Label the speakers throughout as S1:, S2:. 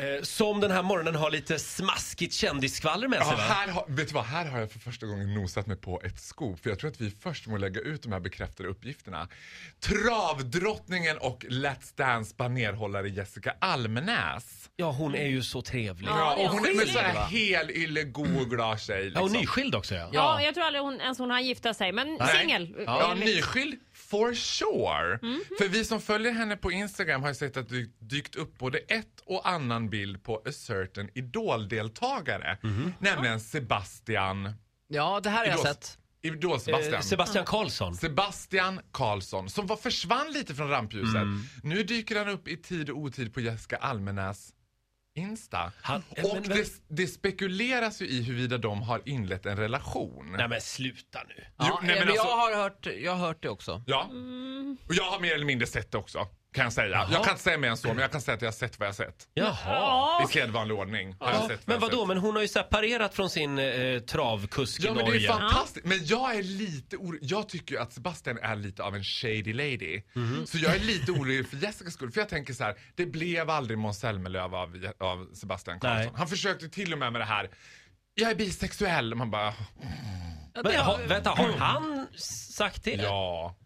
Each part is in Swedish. S1: Eh, Som den här morgonen har lite smaskigt kändisskvaller med sig
S2: Ja,
S1: va?
S2: här har, vet du vad, här har jag för första gången nosat mig på ett skop. För jag tror att vi först må lägga ut de här bekräftade uppgifterna. Travdrottningen och Let's Dance banerhållare Jessica Almenäs.
S1: Ja, hon är ju så trevlig.
S2: Ja, och hon är en
S3: skiljer,
S2: sån
S1: va?
S2: här helylle, god och glad tjej.
S1: Ja, och
S2: liksom.
S1: nyskild också ja.
S3: Ja, jag tror aldrig hon, ens hon har gifta sig, men
S2: Nej.
S3: singel. Mm-hmm.
S2: Ja, nyskild for sure. För vi som följer henne på Instagram har ju sett att det dykt upp både ett och annan bild på a certain idoldeltagare.
S1: Mm-hmm.
S2: Nämligen Sebastian.
S4: Ja, det här har jag
S2: Idol-
S4: sett.
S2: Idol-Sebastian.
S1: Eh, Sebastian Karlsson.
S2: Sebastian Karlsson som var, försvann lite från rampljuset.
S1: Mm.
S2: Nu dyker han upp i tid och otid på Jessica Almenäs Insta.
S1: Han-
S2: och
S1: men- men-
S2: det, det spekuleras ju i huruvida de har inlett en relation.
S1: Nej men sluta nu.
S2: Jo,
S4: Ja,
S2: nej,
S3: eh,
S2: men
S4: men
S2: alltså-
S4: jag, har hört, jag har hört det också.
S2: Ja. Och jag har mer eller mindre sett det också. Kan jag säga. Jag kan inte säga mer än så, men jag kan säga att jag har sett vad jag har sett.
S1: Jaha.
S2: I sedvanlig ordning. Har jag
S1: Ja,
S2: sett vad
S1: men
S2: jag
S1: vadå,
S2: sett.
S1: men hon har ju så här parerat från sin eh, travkusk i
S2: Ja men det är
S1: Norge.
S2: fantastiskt. Men jag är lite orolig. Jag tycker ju att Sebastian är lite av en shady lady. Så jag är lite orolig för Jessicas skull. För jag tänker så här, det blev aldrig Måns Zelmerlöw av, Je- av Sebastian Karlsson.
S1: Nej.
S2: Han försökte till och med med det här, jag är bisexuell. Man bara,
S1: men, ha, vänta, har han sagt det?
S2: ja.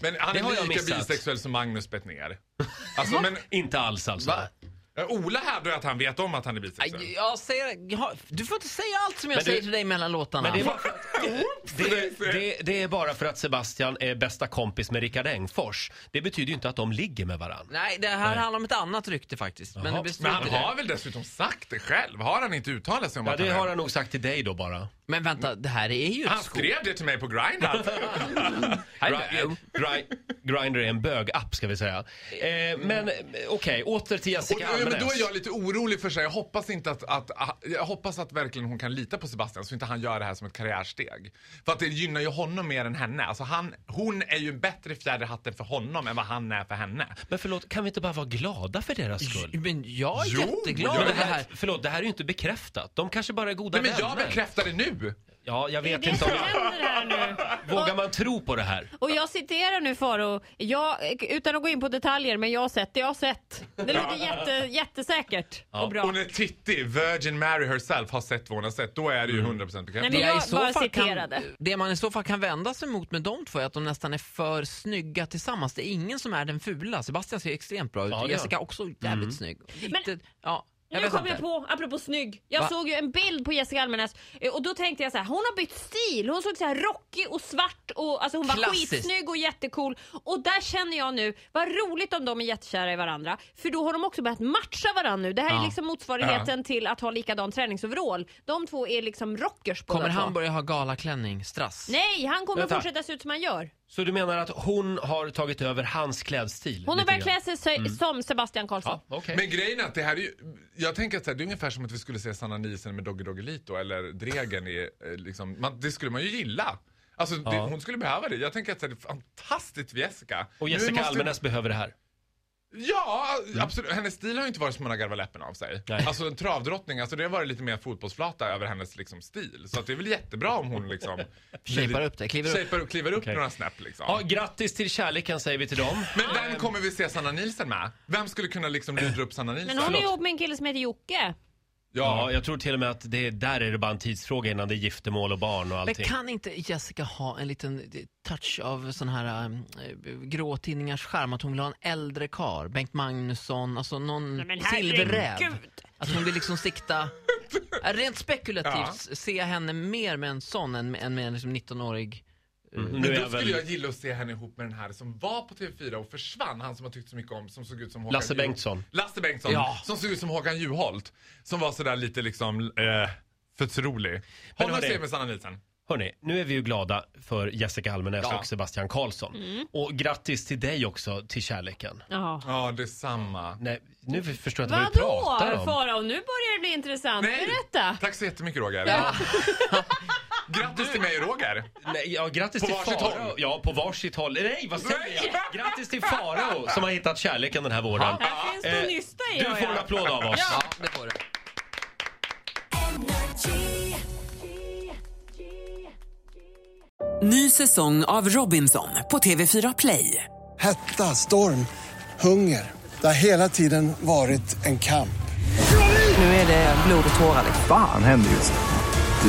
S2: Men han
S1: Det har
S2: är
S1: jag
S2: lika
S1: missat.
S2: bisexuell som Magnus Bettner. Alltså men
S1: Inte alls alltså.
S4: Va?
S2: eh, Ola hävdar ju att han vet om att han är bisexuell.
S4: Aj, Jag säger, jag har- du får inte säga allt som jag
S1: Men du-
S4: säger till dig mellan låtarna.
S1: Men det är, bara för att, det, det, det är bara för att Sebastian är bästa kompis med Rickard Engfors. Det betyder ju inte att de ligger med varandra.
S4: Nej, det här handlar om ett annat rykte faktiskt. Men,
S1: Jaha.
S4: det består
S2: Men han
S4: inte det.
S2: har väl dessutom sagt det själv? Har han inte uttalat sig om
S1: Ja,
S2: att
S1: det
S2: han
S1: har
S2: är...
S1: han nog sagt till dig då bara.
S4: men vänta, det här är ju ett
S2: Han
S4: skop.
S2: skrev det till mig på Grindhub.
S1: Gri- Gri- Grindr är en bögapp ska vi säga. Eh, men eh, okej, åter till
S2: Och,
S1: Jessica
S2: eh, men då
S1: Almenäs.
S2: är jag lite orolig för sig. Jag hoppas inte att, att, att jag hoppas att verkligen hon kan lita på Sebastian så inte han gör det här som ett karriärsteg. För att det gynnar ju honom mer än henne. Alltså han, hon är ju en bättre fjäder i hatten för honom än vad han är för henne.
S1: Men förlåt, kan vi inte bara vara glada för deras skull?
S4: Men jag är
S2: Jo, men
S4: jätteglad
S1: Men
S4: över
S1: det
S4: det här.
S1: här, förlåt, det här är ju inte bekräftat. De kanske bara är goda
S2: Nej, men jag
S1: vänner.
S2: bekräftar det nu.
S1: Ja, jag
S3: Det är
S1: vet
S3: det
S1: inte
S3: som
S1: om jag...
S3: händer här nu.
S1: Vågar man tro på det här?
S3: Och jag citerar nu Faro, jag, utan att gå in på detaljer, men jag har sett det jag har sett. Det låter jätte, jättesäkert och bra.
S2: Och när Titti, Virgin Mary herself, har sett vad hon har sett, då är det ju 100% bekräftat.
S3: Nej,
S4: Det,
S3: men
S4: jag i
S3: jag
S4: så
S3: bara
S4: fall kan,
S3: citerade.
S4: det man i så fall kan vända sig mot med de två är att de nästan är för snygga tillsammans. Det är ingen som är den fula. Sebastian ser extremt bra ut.
S1: Ja, det gör
S4: Jessica också jävligt snygg. Lite, ja, jag
S3: Nu
S4: vet
S3: kom
S4: inte.
S3: jag på, apropå snygg, jag
S4: Va?
S3: såg ju en bild på Jessica Almenäs eh, och då tänkte jag så här, hon har bytt stil. Hon såg så här rockig och svart och alltså hon var
S4: Klassiskt.
S3: skitsnygg och jättecool. Och där känner jag nu, vad roligt om de är jättekära i varandra. För då har de också börjat matcha varandra nu. Det här är
S4: Ja.
S3: liksom motsvarigheten till att ha likadan träningsoverall. De två är liksom rockers båda
S4: Kommer
S3: två.
S4: han börja ha galaklänning, strass?
S3: Nej, han kommer
S1: Vänta.
S3: fortsätta se ut som han gör.
S1: Så du menar att hon har tagit över hans klädstil?
S3: Hon har
S1: lite
S3: börjat
S1: grann? Mm.
S3: klä sig se- som Sebastian Karlsson.
S1: Ja, okej.
S2: Men grejen är att det här är ju, jag tänker att så här, det är ungefär som att vi skulle se Sanna Nielsen med Doggy Doggelito eller Dregen i, eh, liksom, man, det skulle man ju gilla. Alltså det, hon skulle behöva det. Jag tänker att så här, det är fantastiskt för Jessica.
S1: Och
S2: Nu
S1: Jessica
S2: måste-
S1: Almenäs behöver det här.
S2: Ja, absolut. Hennes stil har ju inte varit som hon har garvat läppen av sig.
S1: Nej.
S2: Alltså en travdrottning, alltså, det har varit lite mer fotbollsflata över hennes liksom, stil. Så att det är väl jättebra om hon liksom
S4: Shapar upp det, kliver upp.
S2: Shapar upp, kliver upp
S1: Okej.
S2: några snäpp liksom.
S1: Ja, Ehm. grattis till kärleken säger vi till dem.
S2: Men vem kommer vi se Sanna Nielsen med? Vem skulle kunna liksom lura upp Sanna Nielsen?
S3: Men hon är
S1: Förlåt.
S3: ihop med en kille som heter Jocke.
S1: Ja, jag tror till och med att det, där är det bara en tidsfråga innan det är giftermål och barn och
S4: Men
S1: allting.
S4: kan inte Jessica ha en liten eh, touch av sån här äh, grå tidningars charm? Att hon vill ha en äldre kar, Bengt Magnusson, alltså någon
S3: Nej, men
S4: silverräv.
S3: herregud.
S4: Att hon vill liksom sikta... Ja, Rent spekulativt se henne mer med en sån än med, än med en liksom 19-årig...
S1: Nu är
S2: Men
S1: jag
S2: då
S1: väl-
S2: skulle jag gilla att se henne ihop med den här som var på TV4 och försvann. Han som har tyckt så mycket om, som såg ut som Håkan
S1: Lasse
S2: Juholt.
S1: Bengtsson.
S2: Lasse Bengtsson.
S4: Ja.
S2: Som såg ut som Håkan Juholt. Som var sådär lite liksom, eh, förtrolig. Honom
S1: hörni-
S2: ser jag med Sanna Nielsen.
S1: Hörni, nu är vi ju glada för Jessica Almenäs
S2: Ja.
S1: och Sebastian Karlsson.
S4: Mm.
S1: Och grattis till dig också, till kärleken.
S3: Jaha.
S2: Ja, detsamma.
S1: Nej, nu förstår jag inte vad du
S3: Vadå
S1: pratar om.
S3: Farao, nu börjar det bli intressant. Berätta!
S2: Tack så jättemycket Roger. Grattis till mig Roger.
S1: Nej, ja, grattis
S2: På
S1: till
S2: varsitt
S1: Farao.
S2: håll.
S1: Ja, på varsitt håll. Nej, vad säger
S2: Nej!
S1: jag? Grattis till Farao som har hittat kärleken den här våren.
S3: Här finns det att nysta i.
S1: Eh, Du
S3: hör
S1: får en
S3: jag.
S1: applåd av oss.
S4: Ja, det får du.
S5: Ny säsong av Robinson på TV4 Play.
S6: Hetta, storm, hunger. Det har hela tiden varit en kamp.
S5: Nu är det blod och tårar.
S7: Fan händer just det.